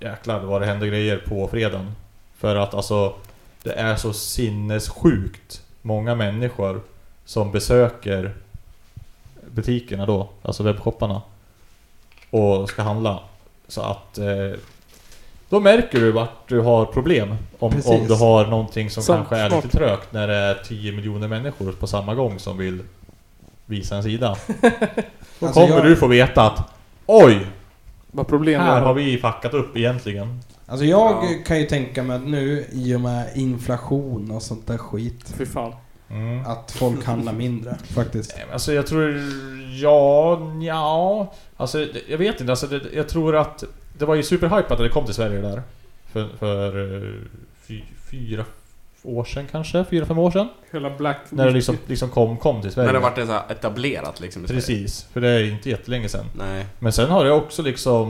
jäklar vad det hände grejer på fredagen. För att alltså Det är så sinnessjukt många människor som besöker butikerna då, alltså webbshopparna. Och ska handla. Så att eh, då märker du vart du har problem. Om, Precis. om du har någonting som Sant, kanske är smart. lite trögt när det är 10 miljoner människor på samma gång som vill visa en sida. Då Alltså, kommer jag- du få veta att Oj! Vad problem Här jag har vi fuckat upp egentligen. Alltså jag kan ju tänka mig att nu i och med inflation och sånt där skit Fy fan. Mm. att folk handlar mindre faktiskt. Alltså jag tror... Ja, ja. Alltså det- jag vet inte. Alltså, det, jag tror att... Det var ju superhypat när det kom till Sverige det där. För, för eh, fy, fyra år sedan kanske? Fyra, fem år sedan? Hela Black När det liksom, liksom kom, kom till Sverige. När det varit så här etablerat liksom i Sverige. Precis, för det är inte jättelänge sedan. Nej. Men sen har det också liksom...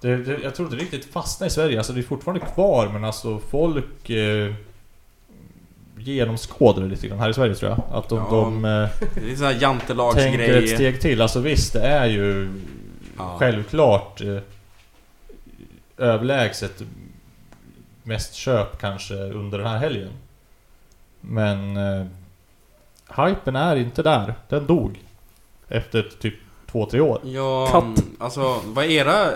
Det, det, jag tror inte riktigt fastnat i Sverige, alltså det är fortfarande kvar men alltså folk... Eh, genomskådar det lite grann här i Sverige tror jag. Att de, Ja, de eh, Det är sån här tänker ett jantelagsgrej. steg till. Alltså visst, det är ju Ja. självklart eh, överlägset mest köp kanske under den här helgen. Men eh, hypen är inte där. Den dog. Efter typ två, tre år. Ja, Katt. alltså vad är era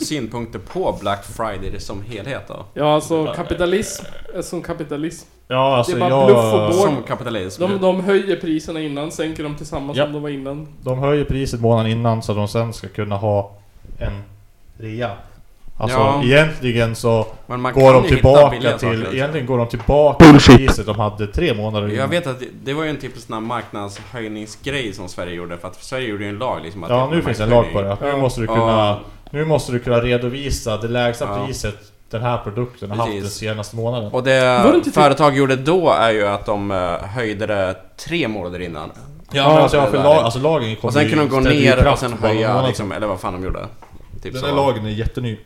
synpunkter på Black Friday som helhet då? Ja, alltså kapitalism är som kapitalism. Ja, alltså Det är bara jag... bluff och båg. Som kapitalism? De, de höjer priserna innan, sänker dem till samma Ja. som de var innan. De höjer priset månaden innan så att de sen ska kunna ha en rea. Alltså Ja. egentligen så Men man går kan de ju hitta tillbaka billiga saker till... också. Egentligen går de tillbaka till priset de hade tre månader Jag vet att det, det var ju en typisk sån här marknadshöjningsgrej som Sverige gjorde för att Sverige gjorde ju en lag liksom att Ja, nu finns det en lag på det. Nu Ja. måste du Ja. kunna, nu måste du kunna redovisa det lägsta Ja. priset den här produkten har haft Precis. den senaste månaden. Och Var det det inte typ- företag gjorde då är ju att de eh, höjde det tre månader innan. Ja, men alltså, det ja, för där. lag, alltså lagen kommer Och sen kunde de gå ställde ju ner och kraft sen bara någon höja månad liksom, eller vad fan de gjorde. Typ sedan. Den så. där lagen är jätteny.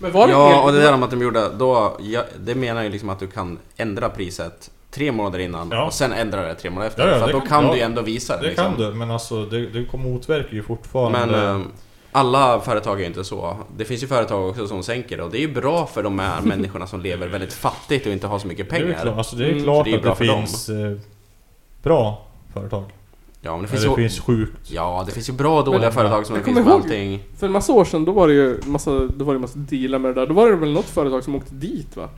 Men var det Ja, helt- och det där med att de gjorde då, ja, det menar ju liksom att du kan ändra priset tre månader innan Ja. och sen ändra det tre månader efter. Ja, ja, för att det då kan- kan ja, du ju ändå visa det. Det liksom. kan du, men alltså det, det kommer motverka ju fortfarande... Men eh, alla företag är ju inte så. Det finns ju företag också som sänker det och det är ju bra för de här människorna som lever väldigt fattigt och inte har så mycket Det är ju klart, pengar. alltså, det är Mm, klart så det är bra att för det dem. finns eh, bra företag. Ja, men det Det finns finns, det ju... finns sjukt... Ja, det finns ju bra och dåliga Men- företag som det Jag finns kommer med ihåg- allting. För en massa år sedan då var det ju massa, då var det massa dealar med det där. Då var det väl något företag som åkte dit va?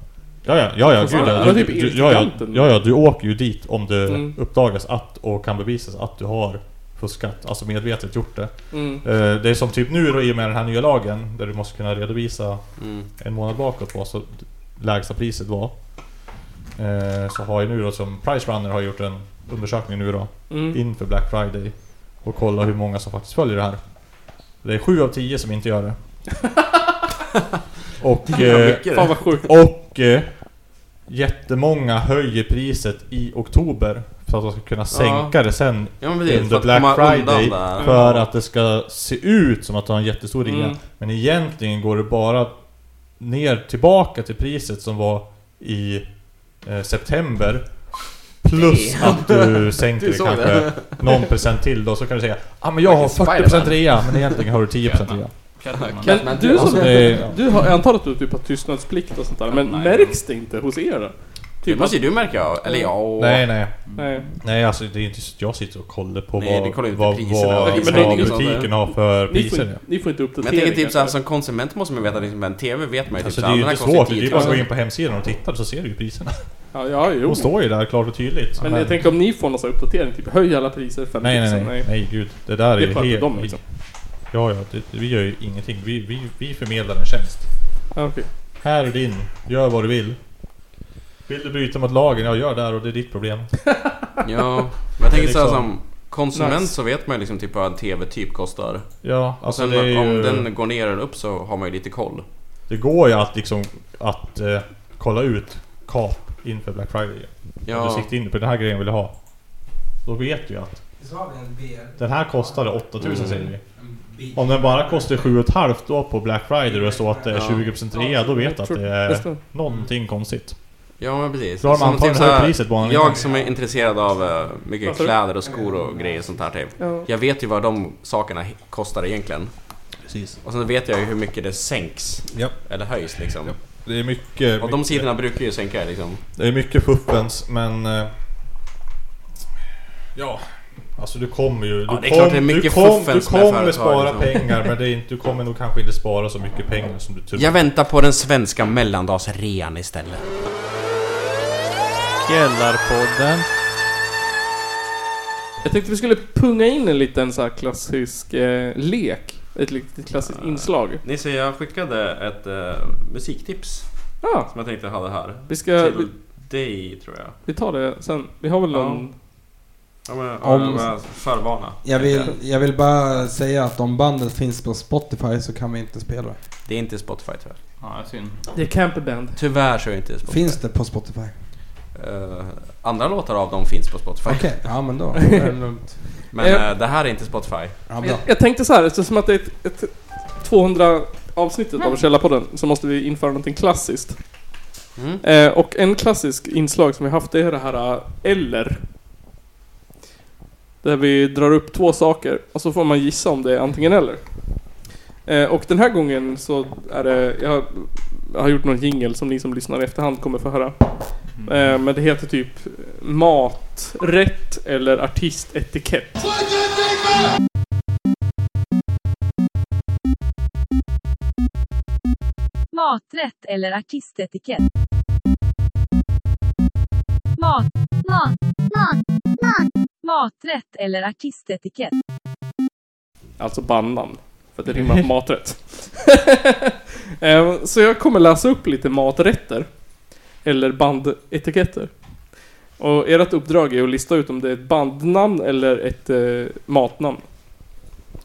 Ja, ja, ja, ja, Fast gud, det ja, var du, typ du, ja, ja, giganten. ja, ja, du åker ju dit om det Mm. uppdagas att och kan bevisas att du har fuskat, alltså medvetet gjort det. Mm. Eh, Det är som typ nu då i och med den här nya lagen där du måste kunna redovisa Mm. en månad bakåt vad så lägsta priset var. Eh, Så har ju nu då som Price Runner har gjort en undersökning nu då Mm. inför Black Friday och kolla hur många som faktiskt följer det här. Det är sju av tio som inte gör det. och, Ja, eh, mycket Fan det. vad sjukt. och eh, jättemånga höjer priset i oktober för att de ska kunna sänka det sen Ja, men precis, för under att Black komma undan Friday där. för att det ska se ut som att de har en jättestor rea. Mm. Men egentligen går det bara ner tillbaka till priset som var i eh, september. Plus att du sänker Du det såg kanske det. någon procent till då, så kan du säga ah, men jag har 40% Vilken Spiderman." rea, men egentligen har du 10% rea. Catwoman. Men du Alltså, som... det är- Du har, jag antar att du typ har tystnadsplikt och sånt där. Men Nej. märks det inte hos er då? Det Typ måste ju du märka, ja. eller ja... Nej, nej. Nej. Nej, alltså det är inte så att jag sitter och kollar på Nej, vad, du kollar ju inte vad, priserna. vad, Men det- vad det- butiken har för Ni får, priser. inte- ni får inte Men uppdateringar. jag tänker typ såhär, som konsument måste man ju veta, liksom, en TV vet man ju typ Alltså det såhär, är ju den här inte kostar svårt, det är ju 10 bara 000. att gå in på hemsidan och titta så ser du ju priserna. Ja, ja jo. De står ju där klart och tydligt. Men jag tänker om ni får någon sån här uppdatering, typ höj alla priser 50 Nej, nej, nej, nej, gud. Det där är Det ju sköter helt... de liksom. Ja, ja, det, vi gör ju ingenting. Vi, vi, vi förmedlar en tjänst. Ja, okej. Här är din, gör vad du vill. Vill du bryta mot lagen? Ja, gör där och det är ditt problem. Ja, men jag tänker är såhär liksom- som konsument Nice. så vet man ju liksom typ vad en TV typ kostar. Ja, Och alltså sen det är om ju, den går ner eller upp så har man ju lite koll. Det går ju att liksom... Att eh, kolla ut kap inför Black Friday. Om Du Ja, siktar in på den här grejen vill jag ha. Då vet du ju att Så har vi en BR. den här kostade 8000 Mm. säger vi. En bil. Om den bara kostar 7,5 då på Black Friday och det står att det är Ja. 20% rea, då vet du att det är Nästa. någonting konstigt. ja men precis. Då har Som man antagligen typ så här- höjt priset på honom innan. Jag som är intresserad av eh, mycket Vad sa du? kläder och skor och grejer sånt här typ. Ja. Jag vet ju vad de sakerna he- kostar egentligen. Precis. Och sen vet jag ju hur mycket det sänks. Ja. Eller höjs liksom. Ja, Det är mycket... Och de mycket- sidorna brukar ju sänka liksom. Det är mycket fuffens men... eh, Ja, alltså du kommer ju... Du Ja, det är klart det är mycket du kom, fuffens Du med kommer företag, spara liksom. pengar men det är inte, du kommer nog kanske inte spara så mycket pengar som du tror. Jag väntar på den svenska mellandagsrean istället. Källarpodden. Jag tänkte vi skulle punga in en liten så här klassisk eh, lek. Ett litet klassiskt inslag. Nisse, jag skickade ett eh, musiktips Ja, som jag tänkte ha det här. vi ska... Vi, Till dig tror jag. vi tar det sen. Vi har väl någon... Ja, men, ja, Om- jag var förvarna. Jag vill, jag vill bara säga att om bandet finns på Spotify så kan vi inte spela det. Det är inte Spotify tyvärr. Ja, synd. Det är Camperband. Tyvärr så är det inte Spotify. Finns det på Spotify? Eh, andra låtar av dem finns på Spotify. Okej, ja men då. då är det lugnt. Men Eh. eh, det här är inte Spotify. Ja, Jag, bra. jag tänkte så här, eftersom att det är ett, ett 200 avsnittet Mm. av Källarpodden så måste vi införa någonting klassiskt. Mm. Eh, och en klassisk inslag som vi haft är det här eh, eller. Där vi drar upp två saker och så får man gissa om det är antingen eller. Eh, och den här gången så är det, jag har, jag har gjort någon jingel som ni som lyssnar i efterhand kommer få höra. Mm. Eh, men det heter typ maträtt eller artistetikett. Maträtt eller artistetikett? Mat, mat, mat, mat. Maträtt eller artistetikett? Alltså bandnamn. För att det rimmar på maträtt. Eh, Så jag kommer läsa upp lite maträtter. Eller bandetiketter. Och ert uppdrag är att lista ut om det är ett bandnamn eller ett eh, matnamn.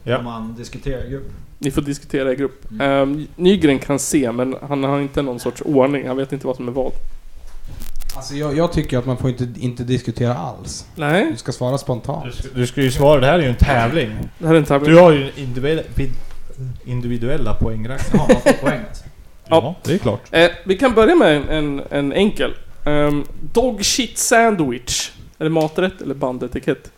Ja. Om man diskuterar i grupp. Ni får diskutera i grupp. Eh, Nygren kan se, men han har inte någon sorts ordning. Han vet inte vad som är vad. Alltså, jag, jag tycker att man får inte, inte diskutera alls. Nej, Du ska svara spontant. Du ska- Du ska ju svara, det här är ju en tävling. det här är en tävling. Du har ju en individuella, individuella poängräkning. Ja, man får poäng alltså. Ja, det är klart. Eh, vi kan börja med en, en, en enkel. Um, dog shit sandwich. Är det maträtt eller bandetikett?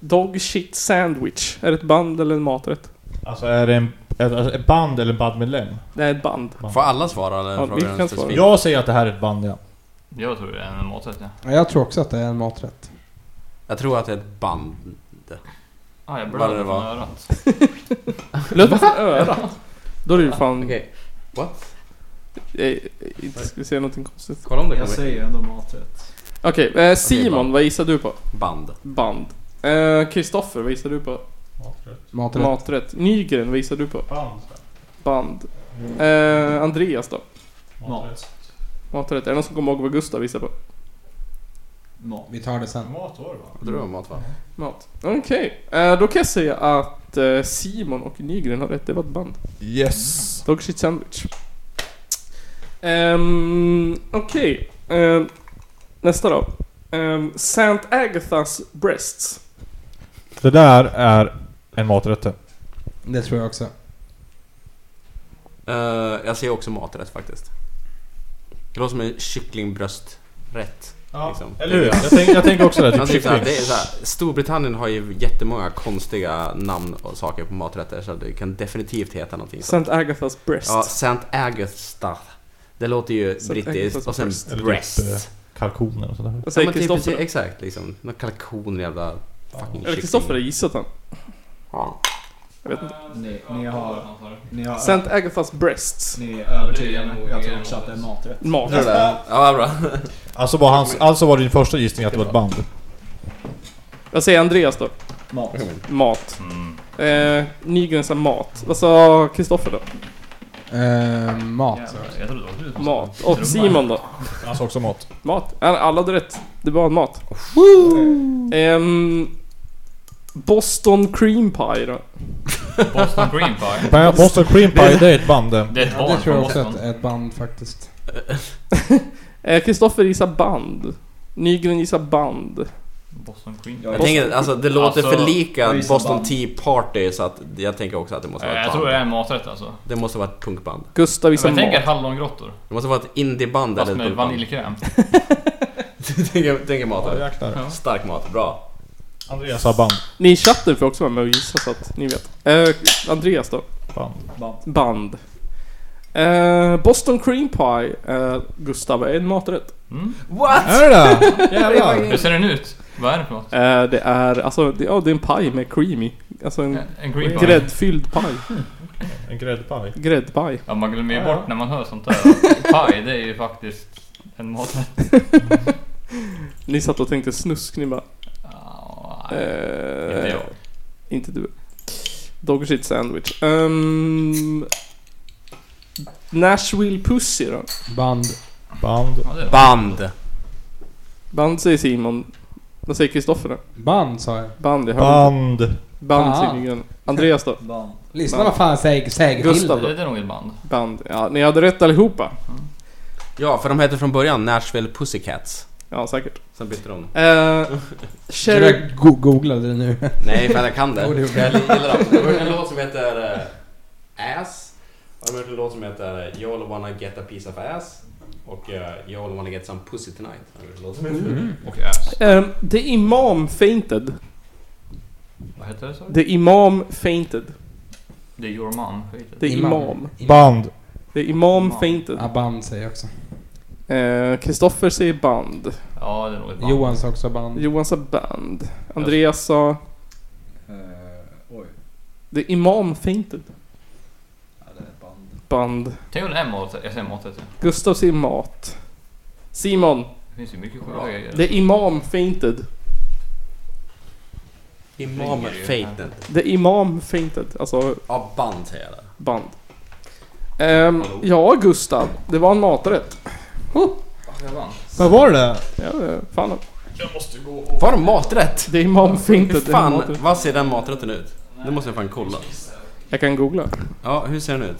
Dog shit sandwich. Är det ett band eller en maträtt? Alltså är det en, ett, alltså, ett band eller en bandmedlem? Det är ett band. Får alla svara eller Ja, vi frågar kan du svara. specifikt? Jag säger att det här är ett band ja. Jag tror det är en maträtt ja. Ja, Jag tror också att det är en maträtt. Jag tror att det är ett band. Ah, jag Vad det blöder från var. örat. Blöder från örat. Då är det ju fan... Okej. What? Eh, inte ska vi säga någonting konstigt. Kolla om det Jag kommer. säger ändå maträtt. Okej, eh, Simon, band. vad gissar du på? Band. Band. Eh, Kristoffer, vad gissar du på? Maträtt. Maträtt. Nygren, vad gissar du på? Band. Band. Eh, Andreas då? Mat. Maträtt. Är det någon som kommer ihåg vad Gustav gissar på? Mat. Vi tar det sen. Mat var det va? Vad tror du om mat va? Mat. Okej, eh, då kan jag säga att eh, Simon och Nygren har rätt, det var ett band. Yes! Dog shit sandwich. Ehm, Okej, ehm, nästa då. Um, Saint Agathas Breasts. Det där är en maträtt. det. Det tror jag också. Eh, jag säger också maträtt faktiskt. Det låter som en kycklingbrösträtt. Liksom. Eller hur? Jag tänker jag tänker också det, typ Alltså, det är så här, kyckling. det är så här, Storbritannien har ju jättemånga konstiga namn och saker på maträtter så det kan definitivt heta någonting sånt. Saint Agathas Breasts. Ja, St. Agatha. Det låter ju Saint brittiskt Agathas och sen breast. Eller typ, eh, breast. Kalkoner och sådär. Vad Ja, säger men typ, Kristoffer? precis, exakt liksom. Någon kalkon jävla fucking Eller Kristoffer har gissat han. Ja. Jag vet inte. Ni, ni har... Ni har... Saint Agathas Breasts. Ni är övertygade. Jag tror också att det är maträtt. Mat. Ja, det- Ja, bra. Alltså var, hans, alltså var din första gissning att det var ett band? Vad säger Andreas då? Mat. Mat. Mm. Eh, Nygren sa mat. Vad sa Kristoffer då? Eh, mat. Jävlar, Jag trodde det var du. Mat. Och Simon då? Han sa också mat. Mat. Ja, Alla hade rätt. Det var mat. Ehm, Boston cream pie då. Boston Cream Pie. Men Boston Cream Pie, det är ett band det. Det är ett Ja, barn det tror från jag också Boston. att är ett band faktiskt. Eh, Kristoffer gissar band. Nygren gissar band. Boston Cream Jag, Jag tänker, alltså det låter Alltså, för lika det är ju så Boston band. Tea Party så att jag tänker också att det måste Eh, vara Jag ett tror band. det är en maträtt alltså. Det måste vara ett punkband. Gustav gissar Men jag tänker mat. hallongrottor. Det måste vara ett indieband eller Fast ett med punkband. vaniljkräm. tänker, tänker mat. Ja, eller? jäklar. Ja. Stark mat, bra. Andreas har band. Ni i chatten får också vara med och gissa så att ni vet. Eh, Andreas då? band. band. Band. Eh, Boston Cream Pie, eh, Gustav, är en maträtt. Mm. What? Är det det Jävlar. Hur ser den ut? Vad är det för något? Eh, det är alltså, det, ja, det är en paj med cream i. Alltså en En- En cream pie? gräddfylld paj. En gräddpaj. Gräddpaj. Ja, man glömmer ju Ja, ja. bort när man hör sånt där. Paj, det är ju faktiskt en maträtt. Ni satt och tänkte snusk, ni bara... Ja, Eh, nej, Inte jag. Inte du. Dog shit sandwich. Ehm, Nashville Pussy då? Band. Band. Ja, det är det. Band. Band säger Simon. Vad säger Kristoffer då? Band sa jag. Band, jag hörde inte. Band. Band säger Ah. Nygren. Andreas då? band. Lyssna Band. vad fan säg, säg till. Gustav Det då? är det nog ett band. Band. Ja, ni hade rätt allihopa. Ja, för de hette från början Nashville Pussycats. Ja, säkert. Sen bytte de. Eh, Tror Cherry... Jag go- googlade det nu. Nej, men jag kan Oh, det. Jo, det Jag gjorde jag. gillar dem. Det var en låt som heter eh, Ass. Och de har gjort en låt som heter eh, You all wanna get a piece of ass. Och eh, You all wanna get some pussy tonight. Har de gjort en låt som heter. Och ass. ehm, The Imam Fainted. Vad heter det? sa du? The Imam Fainted. Det är your man. skit i det. The Imam. Imam, Band. The Imam Imam. Fainted. Ja, band säger jag också. Eh, Kristoffer säger band. Ja, det är nog ett band. Johan sa också band. Johan sa band. Andreas sa Eh, oj, The Imam Fainted. ja, det är ett band. Band. Tänk om det är maträtt. Jag säger maträtt. ja. Gustav säger mat. Simon, Det finns ju mycket sjuka grejer. The Imam Fainted. Imam Ringer ju. Fated. The Imam Fainted. Alltså Ja, band säger jag där. band. Ehm, Hallå. ja, Gustav. Det var en maträtt. Jag vann. Vad var det? Ja, eh, fan. Var de maträtt? The Imam Hur Fainted. det är en fan, maträtt. vad ser den maträtten ut? Det måste jag fan kolla. Jag kan googla. Ja, hur ser den ut?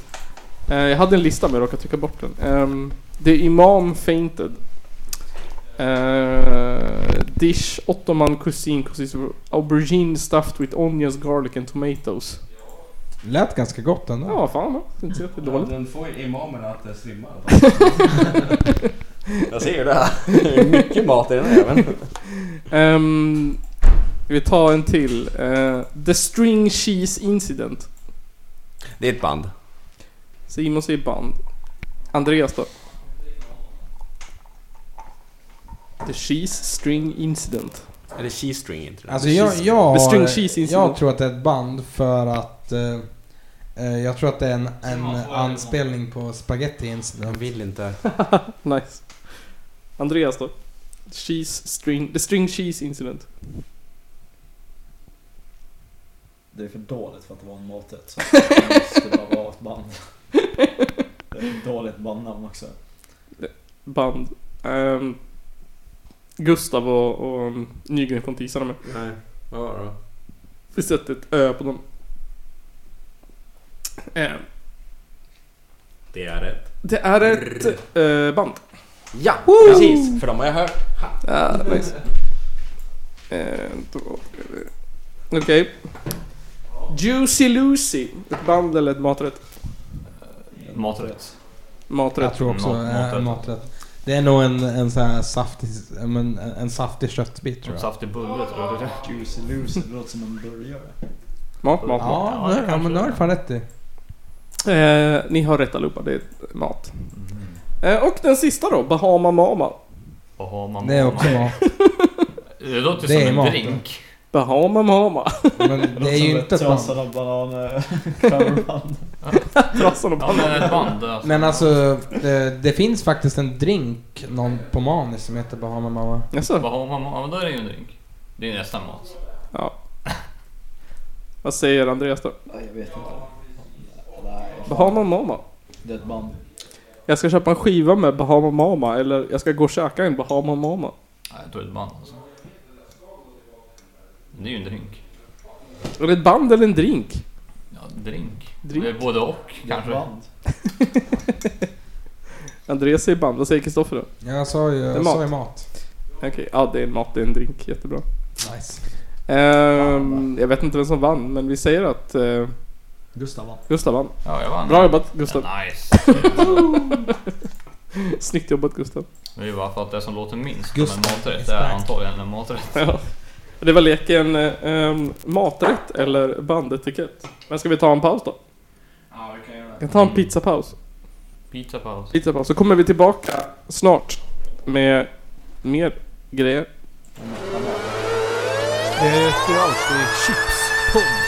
Eh, jag hade en lista men jag råkade trycka bort den. Ehm, The Imam Fainted. Eh, dish Ottoman cuisine consists of aubergine stuffed with onions, garlic and tomatoes. Lät ganska gott ändå. Ja, fan. Det är inte så jättedåligt. Den får ju imamen att eh, svimma. jag ser ju det. här. Det är Mycket mat i den här jäveln. Ehm, vi tar en till. Eh, The String Cheese Incident. Det är ett band. Simon säger band. Andreas då? The Cheese String Incident. Eller Cheese String inte det? Alltså jag, Cheese- jag, The String har, Cheese Incident. jag tror att det är ett band för att eh, eh, jag tror att det är en, en anspelning på Spaghetti Jag Incident. vill inte. Nice. Andreas då? Cheese string, the string cheese incident. Det är för dåligt för att vara en maträtt. Så det måste bara vara ett band. Det är ett dåligt bandnamn också. Band. Ehm, Gustav och, och um, Nygren från Tisarna med. Nej, vad var det då? Vi sätter ett ö på dem. Ehm, Det är rätt. det är ett eh, band. Ja, precis. För de har jag hört. Ah, nice. Ehm, då- Okej. Juicy Lucy. Ett band eller ett maträtt? Maträtt. Maträtt. Jag tror också Mat- eh, maträtt. maträtt. Det är nog en, en sån här saftig, en, en, en saftig köttbit tror En jag. saftig bulle tror jag. det är. Juicy Lucy, det låter som en burgare. Mat, mat, mat. Ja, Ja, nu- det ja, kanske men det har det du är. fan rätt i. Eh, ni har rätt allihopa, det är mat. Eh, och den sista då, Bahama Mama. Och har man Det är också mat. Det låter Det som är en mat. drink. Bahama Mama. Men det är ju inte ett band. Trasade bananer, coverband. Trassan och Ja Bahama. men ett band alltså. Men alltså, det, det finns faktiskt en drink, någon på Manis som heter Bahama Mama. Jaså? Vad har man? Ja men då är det ju en drink. Det är nästan mat. Ja. Vad säger Andreas då? Nej, jag vet inte. Nej, Bahama Mama. det är ett band. Jag ska köpa en skiva med Bahama Mama eller jag ska gå och käka en Bahama Mama. Nej, jag tror det är ett band alltså. Det är ju en drink. Är det ett band eller en drink? Ja, drink. Drink. Det är Både och kanske. Band. Andreas är i band, vad säger Kristoffer då? Jag sa ju, är jag sa ju mat. Okej, ja det är en mat, det är en drink, jättebra. Nice. Ehm, jag vet inte vem som vann, men vi säger att eh, Gustav vann. Gustav vann. Ja, jag vann. Bra jobbat Gustav. Ja, nice. Snyggt jobbat Gustav. Det är ju bara för att det som låter minst som en Gustav maträtt, is det är back. antagligen en maträtt. Ja. Det var leken eh, ehm, maträtt eller bandetikett. Men ska vi ta en paus då? Ja, vi kan göra Vi kan ta en pizzapaus. Pizza paus. Pizzapaus. Så kommer vi tillbaka snart med mer grejer. Det heter ju alltid Chipspodd.